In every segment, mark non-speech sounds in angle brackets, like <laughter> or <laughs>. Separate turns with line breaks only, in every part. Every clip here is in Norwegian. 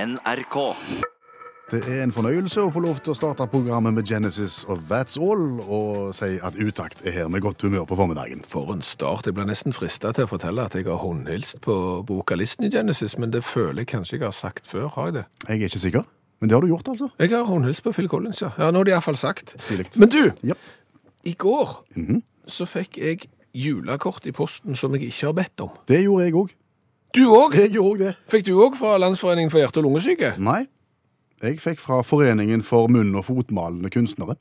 NRK.
Det er en fornøyelse å få lov til å starte programmet med Genesis og That's All, og si at Utakt er her med godt humør på formiddagen.
For en start. Jeg blir nesten frista til å fortelle at jeg har håndhilst på vokalisten i Genesis, men det føler jeg kanskje jeg har sagt før, har jeg det?
Jeg er ikke sikker, men det har du gjort, altså.
Jeg har håndhilst på Phil Collins, ja. ja nå har de iallfall sagt.
Stilig.
Men du,
Ja. Mhm.
i går så fikk jeg julekort i posten som jeg ikke har bedt om.
Det gjorde jeg òg.
Du òg?
<laughs> Jeg gjorde òg det.
Fikk du òg fra Landsforeningen for hjerte- og lungesyke? Å
Nei. Jeg fikk fra Foreningen for munn- og fotmalende kunstnere.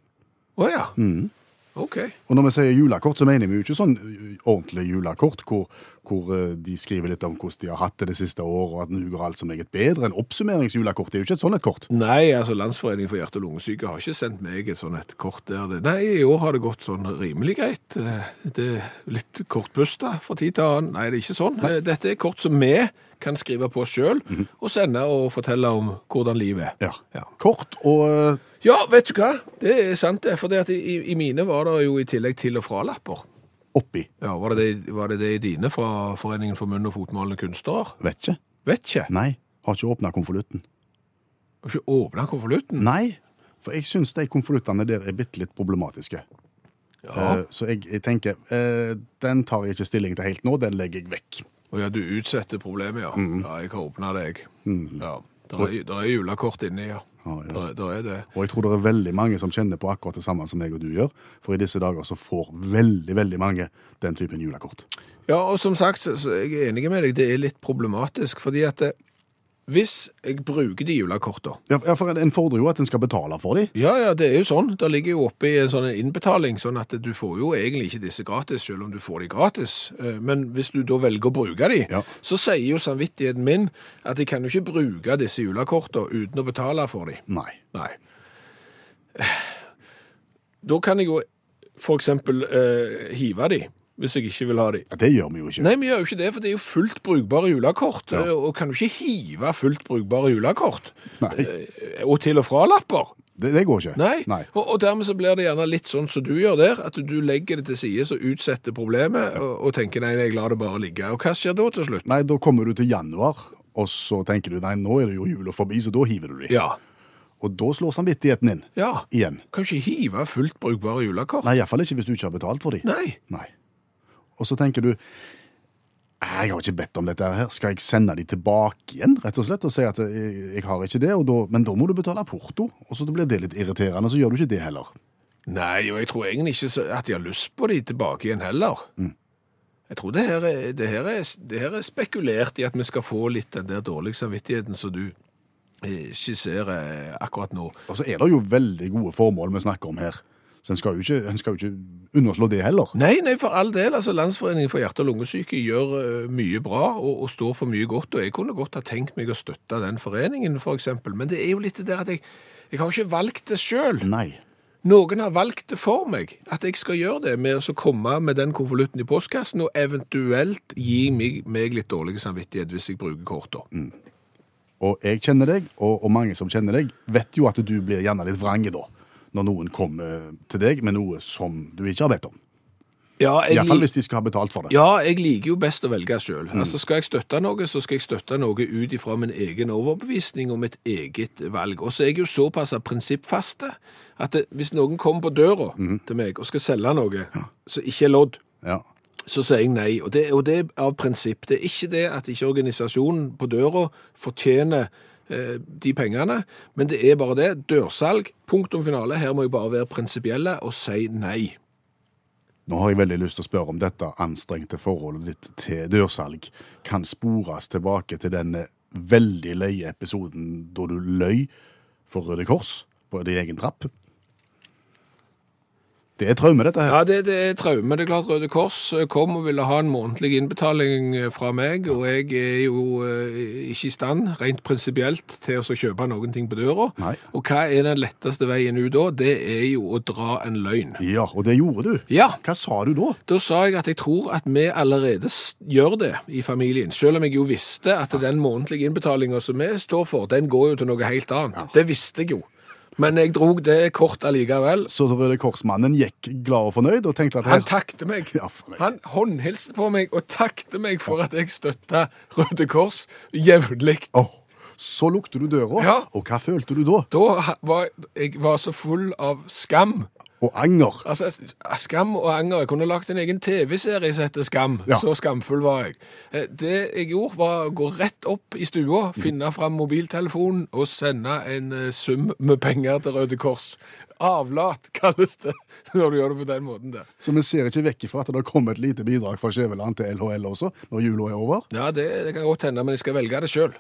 ja.
Mhm.
OK.
Og når vi sier julekort, så mener vi jo ikke sånn ø, ordentlig julekort, hvor, hvor ø, de skriver litt om hvordan de har hatt det det siste året, og at nå går alt så meget bedre. En oppsummeringsjulekort det er jo ikke et sånn et kort.
Nei, altså Landsforeningen for hjerte- og lungesyke har ikke sendt meg et sånn et kort der det Nei, i år har det gått sånn rimelig greit. Eh, Det er litt kortpusta fra tid til annen. Nei, det er ikke sånn. Eh, Dette er kort som vi kan skrive på sjøl og sende og fortelle om hvordan livet er.
Ja.
Ja.
Kort og øh, ø,
Ja, vet du hva? Det er sant, det. For det at i, i mine var det jo i tillegg til- og fralapper.
oppi.
Ja, var det, det, var det det i dine fra Foreningen for munn- og fotmalende kunstnere?
Vet ikke.
Vet ikke.
Nei. Har ikke åpna konvolutten.
Har ikke åpna konvolutten.
Nei, for jeg syns de konvoluttene der er bitte litt problematiske.
Ja.
Eh, så jeg, jeg tenker eh, den tar jeg ikke stilling til helt nå, den legger jeg vekk.
Og ja, du utsetter problemet, ja.
Mm.
Ja, jeg har åpna det, jeg. Ja. Der er, der er julekort inni, ja.
Ja, ja.
Der, der er det.
Og jeg tror det er veldig mange som kjenner på akkurat det samme som jeg og du gjør, for i disse dager så får veldig, veldig mange den typen julekort.
Ja, og som sagt, så, så jeg er enig med deg, det er litt problematisk, fordi at eh, hvis jeg bruker de julekorta
Ja, ja, for en- en fordrer jo at en skal betale for dem.
ja, ja, det er jo sånn. Det ligger jo oppe i en sånn innbetaling, sånn at du får jo egentlig ikke disse gratis, selv om du får de gratis. Eh, Men hvis du da velger å bruke de,
Ja.
så sier jo samvittigheten min at jeg kan jo ikke bruke disse julekorta uten å betale for de.
Nei.
Nei. Da kan jeg jo for eksempel eh, hive de, hvis jeg ikke vil ha de.
Ja, Det gjør vi jo ikke.
Nei, vi gjør jo ikke det, for det er jo fullt brukbare julekort.
Ja.
eh, Og kan jo ikke hive fullt brukbare julekort.
Nei,
eh, Og til og fra-lapper.
det, det går ikke.
Nei.
Nei.
Og, og dermed så blir det gjerne litt sånn som du gjør der, at du legger det til side og utsetter problemet, og, og tenker nei, jeg lar det bare ligge. Og hva skjer da til slutt?
Nei, da kommer du til januar, og så tenker du nei, nå er det jo jula forbi, så da hiver du dem.
Ja.
Og da slår samvittigheten inn.
ja.
Igjen.
Kan ikke hive fullt brukbare julekort.
Nei, iallfall ikke hvis du ikke har betalt for dem.
Nei.
Nei. Og så tenker du «Nei, jeg har ikke bedt om dette her, skal jeg sende de tilbake igjen, rett og slett, og si at jeg, jeg har ikke det, og da, men da må du betale porto, og så blir det litt irriterende, så gjør du ikke det heller.
Nei, og jeg tror egentlig ikke så- at de har lyst på de tilbake igjen heller. Jeg tror det her, er, det, her er, det her er spekulert i at vi skal få litt den der dårlige samvittigheten som du eh, skisserer eh, akkurat nå.
Og så er det jo veldig gode formål vi snakker om her, så en skal jo ikke, en skal jo ikke underslå det heller.
Nei, nei, for all del. altså Landsforeningen for hjerte- og lungesyke gjør eh, mye bra og, og står for mye godt. og Jeg kunne godt ha tenkt meg å støtte den foreningen, for eksempel. Men det er jo litt det der at jeg, jeg har ikke valgt det sjøl.
Nei.
Noen har valgt det for meg, at jeg skal gjøre det med å så komme med den konvolutten i postkassen og eventuelt gi meg, meg litt dårlig samvittighet hvis jeg bruker korta.
Mm. Og jeg kjenner deg, og, og mange som kjenner deg, vet jo at du blir gjerne litt vrange da, når noen kommer til deg med noe som du ikke har bedt om.
Ja,
I
jeg,
hvert fall
lik-
hvis Mm. de skal ha betalt for det.
ja, jeg liker jo best å velge sjøl. Altså, skal jeg støtte noe, så skal jeg støtte noe ut ifra min egen overbevisning og mitt eget valg. Og så er jeg jo såpass prinsippfaste at det, hvis noen kommer på døra
Mm.
til meg og skal selge noe som ikke er lodd,
Ja.
så sier jeg nei. Og det, og det er av prinsipp. Det er ikke det at ikke organisasjonen på døra fortjener eh, de pengene, men det er bare det. Dørsalg, punktum finale. Her må jeg bare være prinsipielle og si nei.
Nå har jeg veldig lyst til å spørre om dette anstrengte forholdet ditt til dørsalg kan spores tilbake til den veldig løye episoden da du løy for Røde Kors på din egen trapp. Det er traume, dette her.
Ja, det, det er traume. Det er klart Røde Kors eh, kom og ville ha en månedlig innbetaling eh, fra meg, og jeg er jo eh, ikke i stand, rent prinsipielt, til å så kjøpe noen ting på døra.
Nei.
Og hva er den letteste veien ut da? Det er jo å dra en løgn.
Ja, og det gjorde du.
Ja,
Hva sa du da?
Da sa jeg at jeg tror at vi allerede s- gjør det i familien, selv om jeg jo visste at den månedlige innbetalingen som vi står for, den går jo til noe helt annet. Det visste jeg jo. Men jeg drog det kort allikevel.
Så Røde Kors-mannen gikk glad og fornøyd og tenkte at
Han
her,
takte meg.
Ja, for meg.
Han håndhilste på meg og takte meg for at jeg støtta Røde Kors jevnlig.
Åh, Så lukter du døra,
Ja.
og hva følte du da?
Da ha- var jeg var så full av skam.
Og anger.
Altså, s- Skam og anger. Jeg kunne lagt en egen TV-serie som heter Skam.
Ja.
Så skamfull var jeg. Eh, Det jeg gjorde, var å gå rett opp i stua, finne fram mobiltelefonen og sende en eh, sum med penger til Røde Kors. Avlat, <laughs> kalles det, når du gjør det på den måten der.
Så vi ser ikke vekk ifra at det har kommet et lite bidrag fra Skjæveland til LHL også, når jula er over.
Ja, det, det kan godt hende, men jeg skal velge det <laughs> sjøl.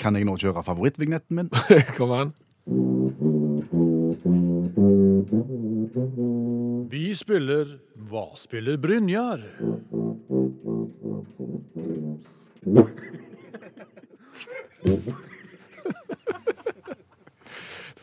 Kan jeg nå kjøre favorittvignetten min?
Kom an.
Vi spiller Hva spiller Brynjar?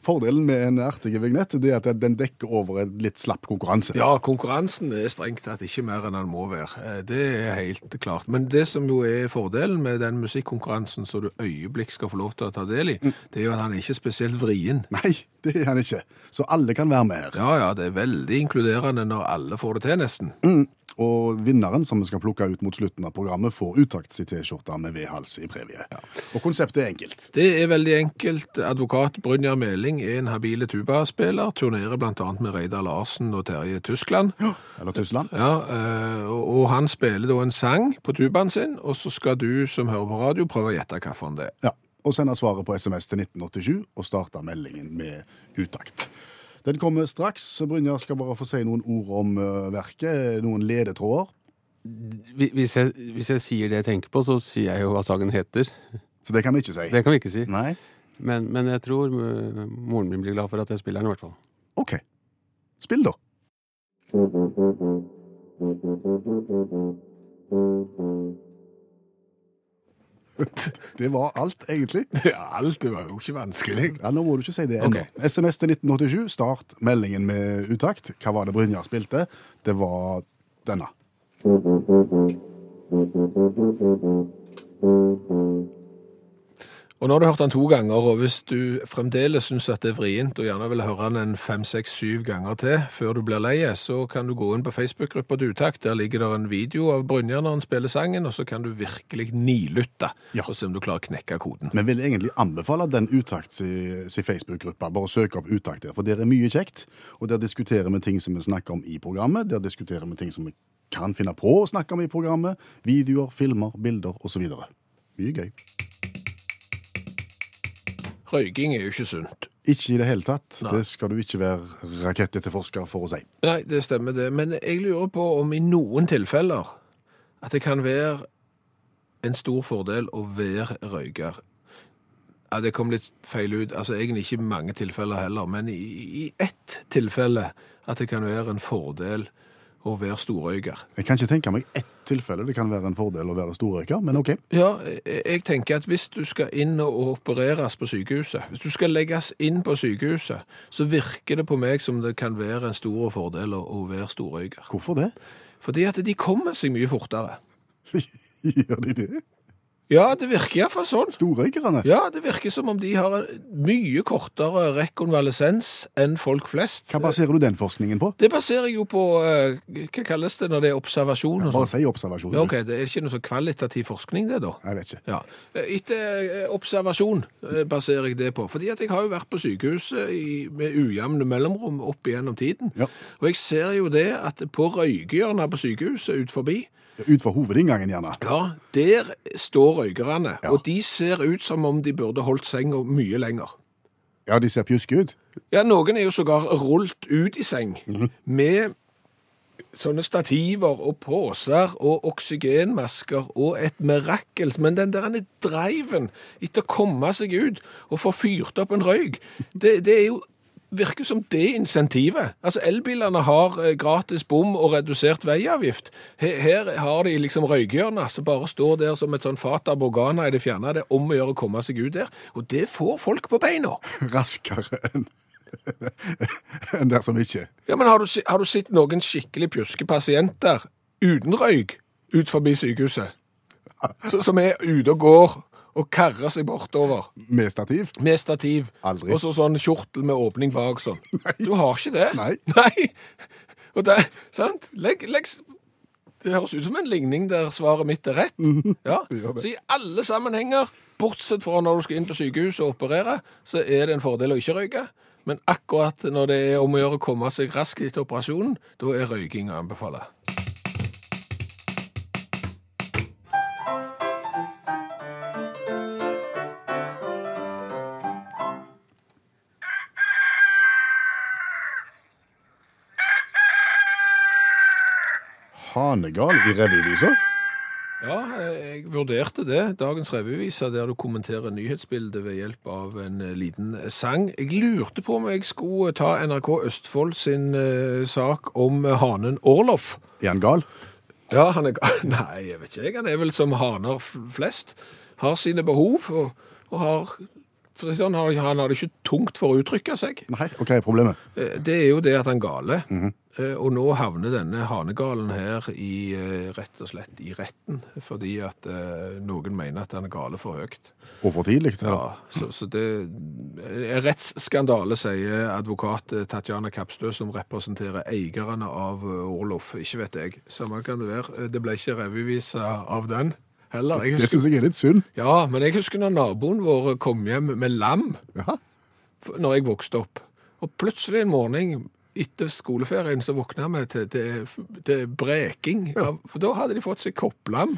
Fordelen med en artig vignett det er at den dekker over en litt slapp konkurranse.
Ja, konkurransen er strengt tatt ikke mer enn den må være. Eh, Det er helt klart. Men det som jo er fordelen med den musikkonkurransen som du øyeblikk skal få lov til å ta del i, det er jo at han er ikke spesielt vrien.
Nei, det er han ikke. Så alle kan være med her.
Ja, ja, det er veldig inkluderende når alle får det til, nesten.
Og vinneren, som vi skal plukke ut mot slutten av programmet, får uttakt sin T-skjorte med V-hals i premie. Og konseptet er enkelt.
Det er veldig enkelt. Advokat Brynjar Meling er en habile tubaspiller, turnerer blant annet med Reidar Larsen og Terje Tyskland.
Eller Tyskland?
Ja, eh, og og han spiller da en sang på tubaen sin, og så skal du som hører på radio prøve å gjette hvilken det er.
Ja. Og sender svaret på SMS til 1987 og starter meldingen med uttakt. Den kommer straks. Brynjar skal bare få si noen ord om eh, verket. Noen ledetråder.
Hvi- Hvis jeg, hvis jeg sier det jeg tenker på, så sier jeg jo hva sangen heter.
Så det kan vi ikke si.
Det kan vi ikke si.
Nei?
Men, men jeg tror eh, moren min blir glad for at jeg spiller den, i hvert fall.
OK. Spill, da. <laughs> Det var alt, egentlig.
<laughs> Ja, alt det var jo ikke vanskelig.
Ja, Nå må du ikke si det ennå. SMS til 1987. Start meldingen med utakt. Hva var det Brynjar spilte? Det var denne.
Og nå har du hørt den to ganger, og hvis du fremdeles syns at det er vrient, og gjerne vil høre den en fem, seks, syv ganger til før du blir lei, så kan du gå inn på Facebook-gruppa til Utakt. Der ligger det en video av Brynjar når han spiller sangen, og så kan du virkelig nilytte
Ja.
og se om du klarer å knekke koden.
Men vil egentlig anbefale den utakt si, si Facebook-gruppa. Bare søk opp utakt der, for der er mye kjekt. Og der diskuterer vi ting som vi snakker om i programmet. Der diskuterer vi ting som vi kan finne på å snakke om i programmet. Videoer, filmer, bilder osv. Mye gøy.
Røyking er jo ikke sunt.
Ikke i det hele tatt.
Nei.
Det skal du ikke være rakettetterforsker for å si.
Nei, det stemmer det, men jeg lurer på om i noen tilfeller at det kan være en stor fordel å være røyker. Ja, det kom litt feil ut. Altså, egentlig ikke i mange tilfeller heller, men i, i ett tilfelle at det kan være en fordel å være storrøyker.
Jeg kan ikke tenke meg ett tilfelle det kan være en fordel å være storrøyker, men OK.
Ja, jeg- jeg tenker at hvis du skal inn og opereres på sykehuset, hvis du skal legges inn på sykehuset, så virker det på meg som det kan være en stor fordel å, å være storrøyker.
Hvorfor det? <laughs>
Fordi at de kommer seg mye fortere.
Gjør de det?
Ja, det virker iallfall sånn.
Storrøykerne?
Ja, det virker som om de har en mye kortere rekonvalesens enn folk flest.
Hva baserer du den forskningen på?
Det baserer jeg jo på eh, Hva kalles det når det er observasjon? og
Bare
sånt?
si observasjonen.
Ja, ok, Det er ikke noe sånn kvalitativ forskning, det, da?
Jeg vet ikke.
Ja. Etter eh, observasjon eh, baserer jeg det på. Fordi at jeg har jo vært på sykehuset i, med ujevne mellomrom opp igjennom tiden.
Ja.
Og jeg ser jo det at på røykehjørnet på sykehuset ut forbi,
Ut fra hovedinngangen, gjerne.
Ja, der står røykerne,
Ja.
og de ser ut som om de burde holdt senga mye lenger.
Ja, de ser pjuske ut. <laughs>
Ja, noen er jo sågar rullet ut i seng med sånne stativer og poser og oksygenmasker og et mirakel. Men den der ene driven etter å komme seg ut og få fyrt opp en røyk, det, det er jo virker som det insentivet. Altså, elbilene har eh, gratis bom og redusert veiavgift. Her, her har de liksom røykhjørnet som bare står der som et sånn fata borgana i det fjerne. Det er om å gjøre å komme seg ut der. Og det får folk på beina.
Raskere enn <laughs> enn der som ikke.
Ja, men har du, se- har du sett noen skikkelig pjuske pasienter uten røyk ut forbi sykehuset? Så, som er ute og går og karrer seg bortover
Med stativ.
med stativ.
Aldri.
Og så sånn kjortel med åpning bak sånn. <laughs> Du har ikke det.
Nei.
Nei. Og det, sant? Legg, legg s- Det høres ut som en ligning der svaret mitt er rett. Ja.
Mhm. <laughs> gjør det.
Så i alle sammenhenger, bortsett fra når du skal inn på sykehuset og operere, så er det en fordel å ikke røyke. Men akkurat når det er om å gjøre å komme seg raskt etter operasjonen, da er røyking å anbefale.
Hanegal i revyvisa?
Ja, jeg vurderte det. Dagens revyvise der du kommenterer nyhetsbildet ved hjelp av en eh, liten sang. Jeg lurte på om jeg skulle eh, ta NRK Østfold sin eh, sak om hanen Orlof.
Er han gal?
Ja, han er ga- <laughs> Nei, jeg vet ikke. jeg. Han er vel som haner f- flest. Har sine behov og, og har for å si det sånn, han har- han har det ikke tungt for å uttrykke seg.
Nei, OK, problemet.
Eh, Det er jo det at han gale. Eh, Og nå havner denne hanegalen her i, eh, rett og slett i retten, fordi at eh, noen mener at han er gale for høyt.
Og for tidlig. eller?
Ja, så, så det er rettsskandale, sier advokat eh, Tatjana Kapstø, som representerer eierne av eh, Orlof. Ikke vet jeg. Samme kan det være. Eh, Det ble ikke revyvise av den heller. Jeg
Det
husker,
syns jeg er litt synd.
ja, men jeg husker når naboen vår kom hjem med lam
Ja.
når jeg vokste opp. Og plutselig en morgen etter skoleferien så våkna vi til, til, til breking. av- For da hadde de fått seg kopplam.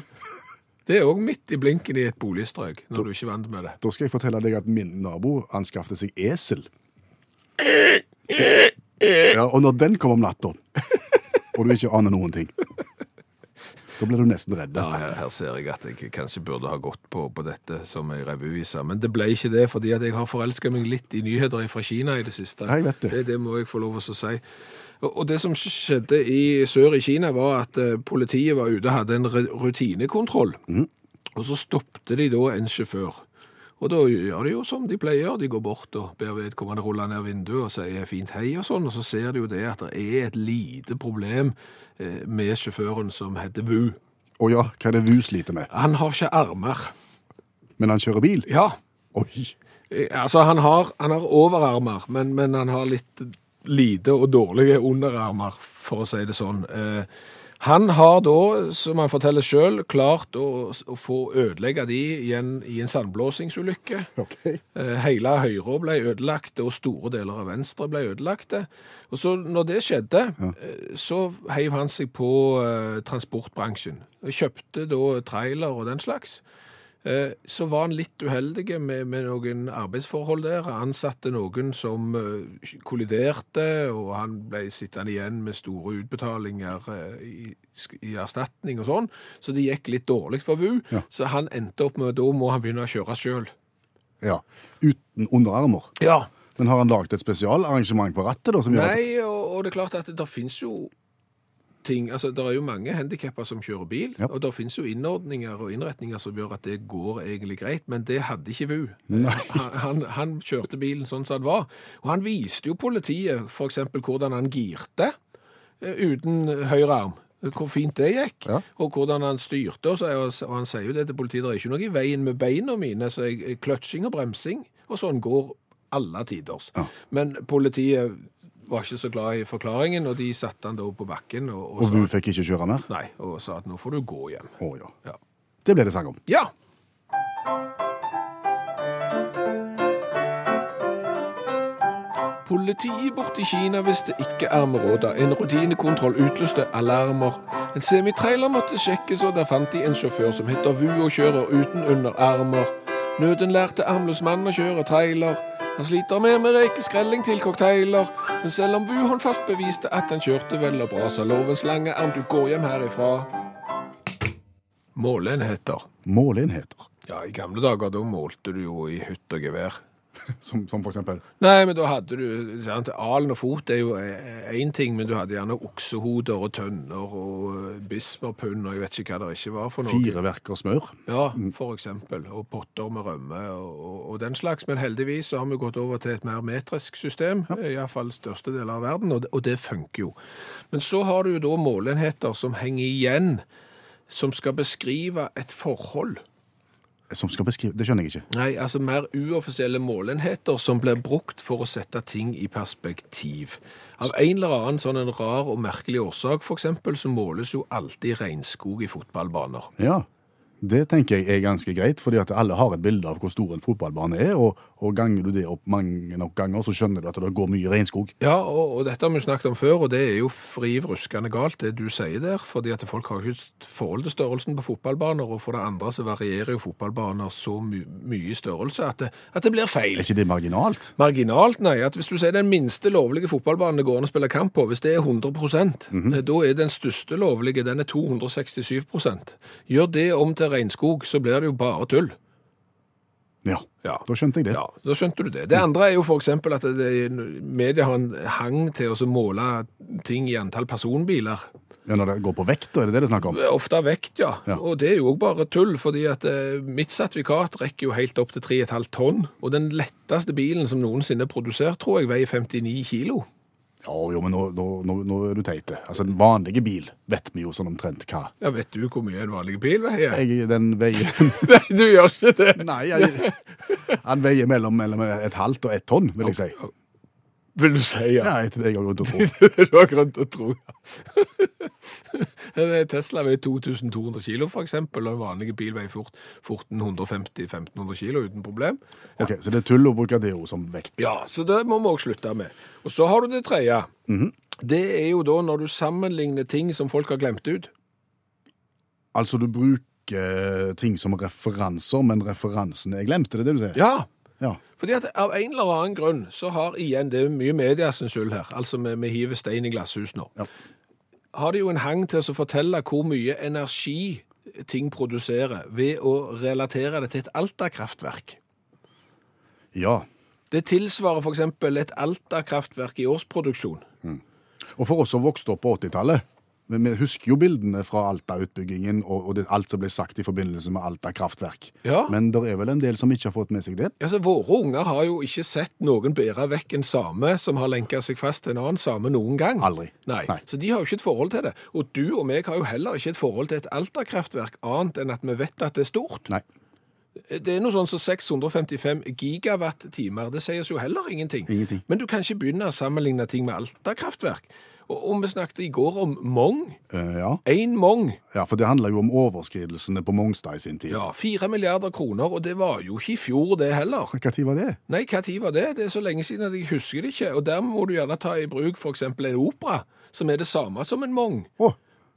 Det er òg midt i blinken i et boligstrøk, når du ikke er vant med det.
Da skal jeg fortelle deg at min nabo anskaffet seg esel. Ja, og når den kom om natta, og du ikke aner noen ting, da blir du nesten redd.
Ja, her, her ser jeg at jeg kanskje burde ha gått på, på dette som ei revyvise, men det ble ikke det, fordi at jeg har forelska meg litt i nyheter fra Kina i det siste.
Ja, jeg vet det.
det. Det må jeg få lov å si. Og og det som skjedde i sør i Kina, var at eh, politiet var ute og hadde en re- rutinekontroll. Og så stoppte de da en sjåfør. Og da gjør de jo som de pleier. De går bort og ber vedkommende rulle ned vinduet og sier fint hei og sånn. Og så ser de jo det at det er et lite problem eh, med sjåføren som heter Wu.
Å ja, hva er det du sliter med?
Han har ikke armer.
Men han kjører bil?
Ja.
Oi,
Eh, Altså, han har, han har overarmer, men, men han har litt lite og dårlige underarmer, for å si det sånn. Eh, han har da, som han forteller sjøl, klart å, å få ødelegge de i en, i en sandblåsingsulykke.
ok.
Eh, Hele høyre ble ødelagt, og store deler av venstre ble ødelagt. Og så når det skjedde, eh, så heiv han seg på eh, transportbransjen. Og Kjøpte da trailer og den slags. Eh, Så var han litt uheldig med, med noen arbeidsforhold der. Han Ansatte noen som eh, kolliderte, og han ble sittende igjen med store utbetalinger eh, i, sk- i erstatning og sånn. Så det gikk litt dårlig for VU.
Ja.
Så han endte opp med at da må han begynne å kjøre sjøl.
Ja, uten underarmer.
Ja.
Men har han laget et spesialarrangement på rattet da, som gjør at...
Nei, og, og det er klart at det, der finnes jo ting, altså det er jo mange handikapper som kjører bil,
Ja.
og det finnes jo innordninger og innretninger som gjør at det går egentlig greit, men det hadde ikke VU. Han, han, han kjørte bilen sånn som den var, og han viste jo politiet for eksempel hvordan han girte eh, uten høyre arm. Hvor fint det gikk,
Ja.
og hvordan han styrte. Og, så, er- og han sier jo det til politiet, det er ikke noe i veien med beina mine, så jeg, kløtsjing og bremsing, og sånn går alle tiders.
Ja.
Men politiet var ikke så glad i forklaringen, og de satte han da på bakken og, og,
Og
sa,
du fikk ikke kjøre mer?
nei, og sa at nå får du gå hjem.
Å ja.
Ja.
Det ble det sang om.
ja. Politiet borte i Kina visste ikke ermeråda. En rutinekontroll utløste alarmer. En semitrailer måtte sjekkes, og der fant de en sjåfør som heter Vu og kjører uten underarmer. Nøden lærte armløs mann å kjøre trailer. Han sliter med med rekeskrelling til cocktailer. Men selv om Vu håndfast beviste at han kjørte vel og bra, sa lovens lange arm, du går hjem herifra. Målenheter.
Målenheter.
Ja, i gamle dager da målte du jo i hytt og gevær.
Som, som for eksempel.
Nei, men da hadde du sant? Alen og fot er jo én ting, men du hadde gjerne oksehoder og tønner og eh, bismarpund og jeg vet ikke hva det ikke var for noe.
Fire verker smør.
Ja, for eksempel. Og potter med rømme og, og, og den slags. Men heldigvis så har vi gått over til et mer metrisk system, eh, i hvert fall største deler av verden, og det, og det funker jo. Men så har du jo da målenheter som henger igjen, som skal beskrive et forhold.
som skal beskrive Det skjønner jeg ikke.
Nei, altså mer uoffisielle målenheter som blir brukt for å sette ting i perspektiv. Av en eller annen sånn en rar og merkelig årsak, for eksempel, så måles jo alltid regnskog i fotballbaner.
Ja, Det tenker jeg er ganske greit, fordi at alle har et bilde av hvor stor en fotballbane er. Og, og ganger du det opp mange nok ganger, så skjønner du at det går mye regnskog.
Ja, og, og dette har vi jo snakket om før, og det er jo friv ruskende galt, det du sier der. fordi at folk har jo ikke et forhold til størrelsen på fotballbaner, og for det andre så varierer jo fotballbaner så my mye i størrelse at det, at det blir feil.
Er ikke det marginalt?
Marginalt, nei. at Hvis du sier den minste lovlige fotballbanen det går an å spille kamp på, hvis det er 100 da er den største lovlige den er 267 Gjør det om til regnskog, så blir det jo bare tull.
Ja.
Ja.
Da skjønte jeg det.
Ja, Da skjønte du det. Det andre er jo f.eks. at det, media har en hang til å så måle ting i antall personbiler.
Ja, når det går på vekt, da er det det det er snakk om?
Ofte av vekt, ja.
Ja.
Og det er jo òg bare tull, fordi at eh, mitt sertifikat rekker jo helt opp til 3,5 tonn. Og den letteste bilen som noensinne er produsert, tror jeg veier 59 kilo.
Ja, jo, men nå, nå, nå, nå er du teit. Altså, en vanlig bil vet vi jo sånn omtrent hva.
Ja, vet du hvor mye en vanlig bil veier?
Jeg, den veier
<laughs> Nei, du gjør ikke det.
Nei, jeg, han veier mellom, mellom et halvt og ett tonn, vil jeg si.
Vil du si ja?
Ja, etter det jeg har grunn til å tro.
<laughs> Det var grunn til å tro. <laughs> En eh, Tesla veier 2200 kilo, for eksempel, og en vanlig bil veier fort 1450-1500 kilo uten problem.
Ok, Så det er tull å bruke det ordet som vekt.
Ja, så det må vi òg slutte med. Og så har du det tredje.
Mhm.
Det er jo da når du sammenligner ting som folk har glemt ut.
Altså, du bruker eh, ting som referanser, men referansene er glemt. Er det det du sier?
Ja,
Ja.
Fordi at Av en eller annen grunn så har igjen Det er jo mye medias skyld her. Altså, vi, vi hiver stein i glasshus nå.
Ja.
Har de jo en hang til å fortelle hvor mye energi ting produserer ved å relatere det til et Alta-kraftverk.
ja.
Det tilsvarer f.eks. et Alta-kraftverk i årsproduksjon.
Og for oss som vokste opp på 80-tallet, men vi husker jo bildene fra Alta-utbyggingen og, og det, alt som ble sagt i forbindelse med Alta kraftverk.
Ja.
Men det er vel en del som ikke har fått med seg det?
Altså, Våre unger har jo ikke sett noen bære vekk en same som har lenka seg fast til en annen same noen gang.
Aldri.
Nei.
Nei.
Så de har jo ikke et forhold til det. Og du og meg har jo heller ikke et forhold til et Alta-kraftverk, annet enn at vi vet at det er stort.
Nei.
Det er noe sånn som 655 gigawatt-timer. Det sies jo heller ingenting.
Ingenting.
Men du kan ikke begynne å sammenligne ting med Alta-kraftverk. Og, og vi snakket i går om Mong.
Eh, ja.
Én Mong.
ja, for det handler jo om overskridelsene på Mongstad i sin tid.
Ja, fire milliarder kroner, og det var jo ikke i fjor, det heller.
Hva tid var det?
Nei, hva tid var det? Det er så lenge siden at jeg husker det ikke. Og dermed må du gjerne ta i bruk f.eks. en opera, som er det samme som en Mong.
Å,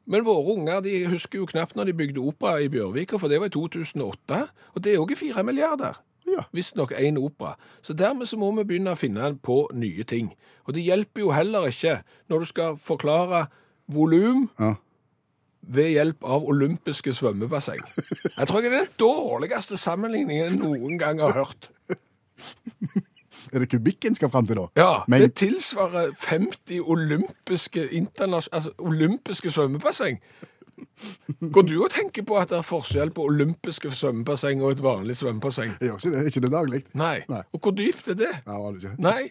Men våre unger de husker jo knapt når de bygde opera i Bjørvika, for det var i 2008. Og det er òg fire milliarder.
Ja.
Visstnok én opera. Så dermed så må vi begynne å finne på nye ting. Og det hjelper jo heller ikke når du skal forklare volum
Ja.
ved hjelp av olympiske svømmebasseng. Jeg tror ikke det er den dårligste sammenligningen jeg noen gang har hørt.
er det kubikken skal fram til da?
Ja,
Men-
det tilsvarer 50 olympiske, internas- altså, olympiske svømmebasseng. Går du og tenker på at det er forskjell på olympiske svømmebasseng og et vanlig svømmebasseng?
Jeg gjør ikke det. Ikke det daglig.
Nei.
Nei.
Og hvor dypt er det?
Ja, var det ikke?
Nei.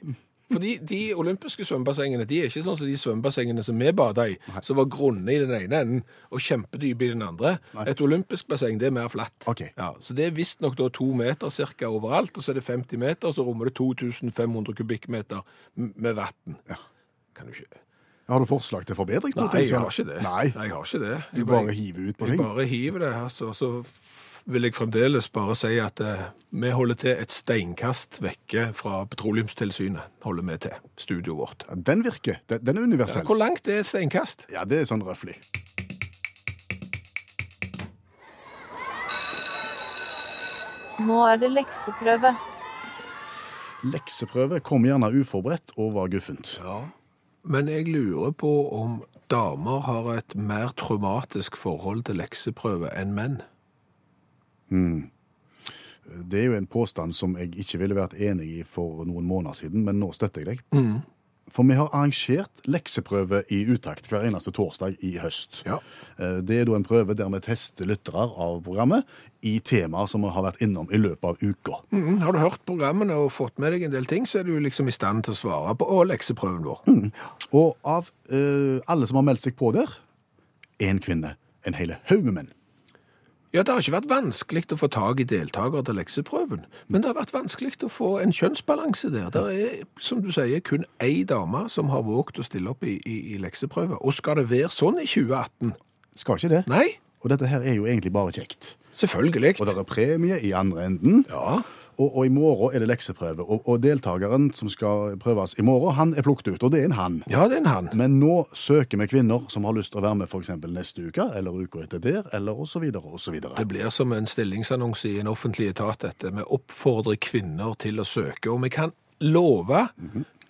Fordi de olympiske svømmebassengene de er ikke sånn som de svømmebassengene som vi bada i, som var grunne i den ene enden og kjempedype i den andre. Et olympisk basseng det er mer flatt.
Ok.
Ja, så det er visstnok da to meter cirka overalt, og så er det 50 meter, og så rommer det 2500 kubikkmeter m- med vann.
Ja.
Kan du ikke
Har du forslag til forbedring? på
Nei,
ting,
jeg
så-
har ikke det.
Nei,
jeg har ikke det.
Du
Jeg
bare hiver ut på
Jeg
ting.
bare hiver det, altså. Så f- vil jeg fremdeles bare si at eh, vi holder til et steinkast vekke fra Petroleumstilsynet. holder vi til, studioet vårt.
Ja, Den virker. Den, den er universell.
Hvor langt er et steinkast?
Ja, det er sånn røffelig.
Nå er det lekseprøve.
Lekseprøve kom gjerne uforberedt og var guffent.
Ja. Men jeg lurer på om damer har et mer traumatisk forhold til lekseprøve enn menn.
Det er jo en påstand som jeg ikke ville vært enig i for noen måneder siden, men nå støtter jeg deg.
Mm.
For vi har arrangert lekseprøve i utakt hver eneste torsdag i høst.
Ja.
Eh, Det er da en prøve der vi tester lyttere av programmet i temaer som vi har vært innom i løpet av uka.
Mm, har du hørt programmene og fått med deg en del ting, så er du liksom i stand til å svare på å, lekseprøven vår.
Og av eh, alle som har meldt seg på der, én kvinne, en hele haug med menn.
Ja, Det har ikke vært vanskelig å få tak i deltakere til lekseprøven, men det har vært vanskelig å få en kjønnsbalanse der. Det er, som du sier, kun ei dame som har våget å stille opp i, i, i lekseprøve. Og skal det være sånn i 2018?
Skal ikke det.
Nei,
Og dette her er jo egentlig bare kjekt.
selvfølgelig.
Og det er premie i andre enden.
Ja,
Og, og i morgen er det lekseprøve. Og, og deltakeren som skal prøves i morgen, han er plukket ut. Og det er en han.
ja, det er en han.
Men nå søker vi kvinner som har lyst til å være med f.eks. neste uke, eller uka etter der, eller osv. osv.
Det blir som en stillingsannonse i en offentlig etat, dette. Vi oppfordrer kvinner til å søke, og vi kan love,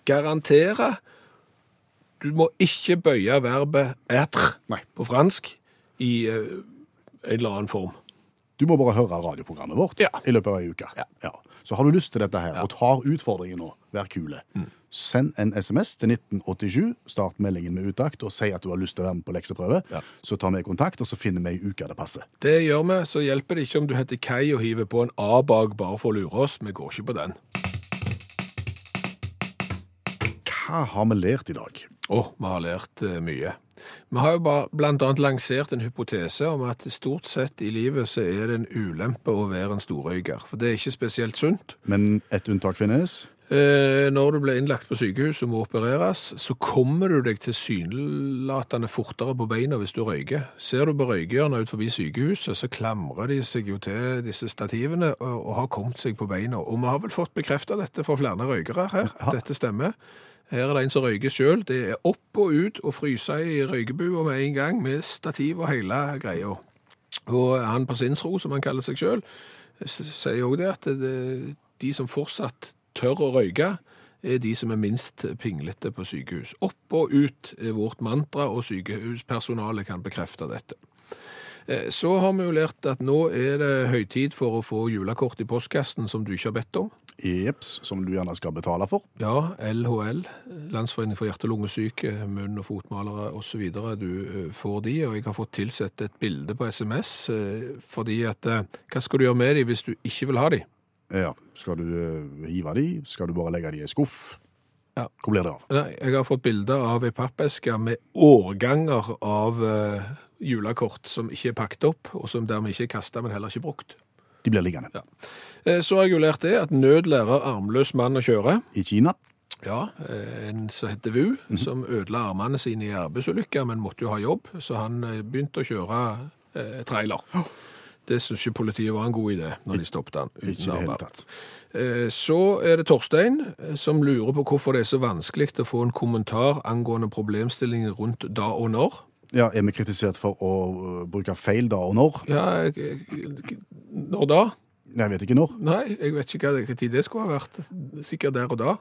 garantere Du må ikke bøye verbet être
Nei.
på fransk i eh, en eller annen form.
Du må bare høre radioprogrammet vårt
Ja.
i løpet av ei uke.
Ja.
Så har du lyst til dette her, og tar utfordringen nå, vær kule.
Mm.
Send en SMS til 1987, start meldingen med utakt, og si at du har lyst til å være med på lekseprøve. Så tar vi kontakt, og så finner vi ei uke det passer.
Det gjør vi, så hjelper det ikke om du heter Kai og hiver på en A bak bare for å lure oss. Vi går ikke på den.
Hva har vi lært i dag?
Å, vi har lært eh, mye. Vi har jo bare blant annet lansert en hypotese om at stort sett i livet så er det en ulempe å være en storrøyker, for det er ikke spesielt sunt.
Men et unntak finnes.
Eh, Når du blir innlagt på sykehus og må opereres, så kommer du deg tilsynelatende fortere på beina hvis du røyker. Ser du på røykehjørnet ut forbi sykehuset, så klamrer de seg jo til disse stativene og, og har kommet seg på beina. Og vi har vel fått bekrefta dette fra flere røykere her, at dette stemmer. Her er det en som røyker sjøl. Det er opp og ut og fryse i røykebua med en gang, med stativ og hele greia. Og han på Sinsro, som han kaller seg sjøl, sier òg det at det, de som fortsatt tør å røyke, er de som er minst pinglete på sykehus. Opp og ut er vårt mantra, og sykehuspersonalet kan bekrefte dette. Eh, Så har vi jo lært at nå er det høytid for å få julekort i postkassen som du ikke har bedt om.
Jeps, som du gjerne skal betale for.
Ja, LHL, Landsforening for hjerte- og lungesyke, munn- og fotmalere osv. Du eh, får de, og jeg har fått tilsett et bilde på SMS, eh, fordi at eh, Hva skal du gjøre med de hvis du ikke vil ha de?
Ja, Skal du eh, hive de? Skal du bare legge de i en skuff?
Ja.
Hvor blir det av?
Nei, jeg har fått bilde av ei pappeske med årganger av eh, julekort som ikke er pakket opp, og som dermed ikke er kasta, men heller ikke brukt.
De blir liggende.
Eh, Så har jeg jo lært det at nød lærer armløs mann å kjøre.
I Kina?
Ja, eh, en som heter Vu,
Mhm.
som ødela armene sine i arbeidsulykker, men måtte jo ha jobb, så han eh, begynte å kjøre eh, trailer. Det syntes ikke politiet var en god idé når de stoppet han. uten
Ikke i det hele
armer.
tatt.
Eh, Så er det Torstein eh, som lurer på hvorfor det er så vanskelig å få en kommentar angående problemstillingen rundt da og når.
Ja, Er vi kritisert for å eh, bruke feil da og når?
Ja, jeg- jeg- når da?
Jeg vet ikke når.
Nei, jeg vet ikke hva hva tid det skulle ha vært. Sikkert der og da.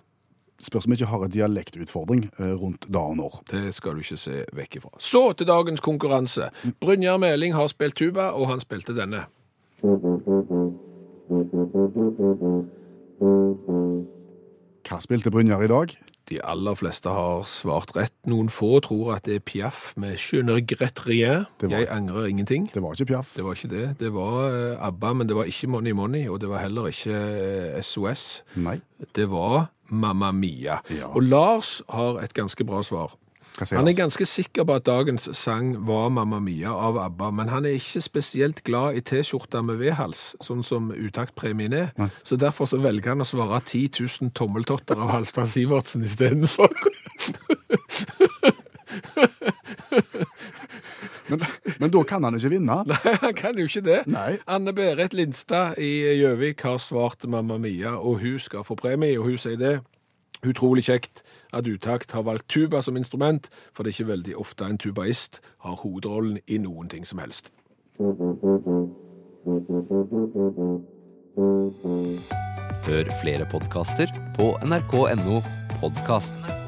Spørs om vi ikke har en dialektutfordring eh, rundt da og når.
Det skal du ikke se vekk ifra. Så til dagens konkurranse. Brynjar Meling har spilt tuba, og han spilte denne.
Hva spilte Brynjar i dag?
De aller fleste har svart rett. Noen få tror at det er Piaf med 'Je ne regrette rien'.
Det var-
Jeg angrer ingenting.
Det var ikke Piaf.
Det var ikke det. Det var eh, ABBA, men det var ikke Money Money, og det var heller ikke eh, SOS.
Nei.
Det var Mamma Mia.
Ja.
Og Lars har et ganske bra svar.
Hva sier
Han
han?
er ganske sikker på at dagens sang var Mamma Mia av ABBA, men han er ikke spesielt glad i T-skjorter med V-hals, sånn som utaktpremien er. Så derfor så velger han å svare 10 000 tommeltotter av Halvdan Sivertsen istedenfor.
Men, men da kan han ikke
<laughs>
vinne.
Nei, han kan jo ikke det.
Nei.
Anne Berit Lindstad i Gjøvik har svart Mamma Mia, og hun skal få premie, og hun sier det. Utrolig kjekt at Utakt har valgt tuba som instrument, for det er ikke veldig ofte en tubaist har hovedrollen i noen ting som helst.
Hør flere podkaster på nrk.no podkast.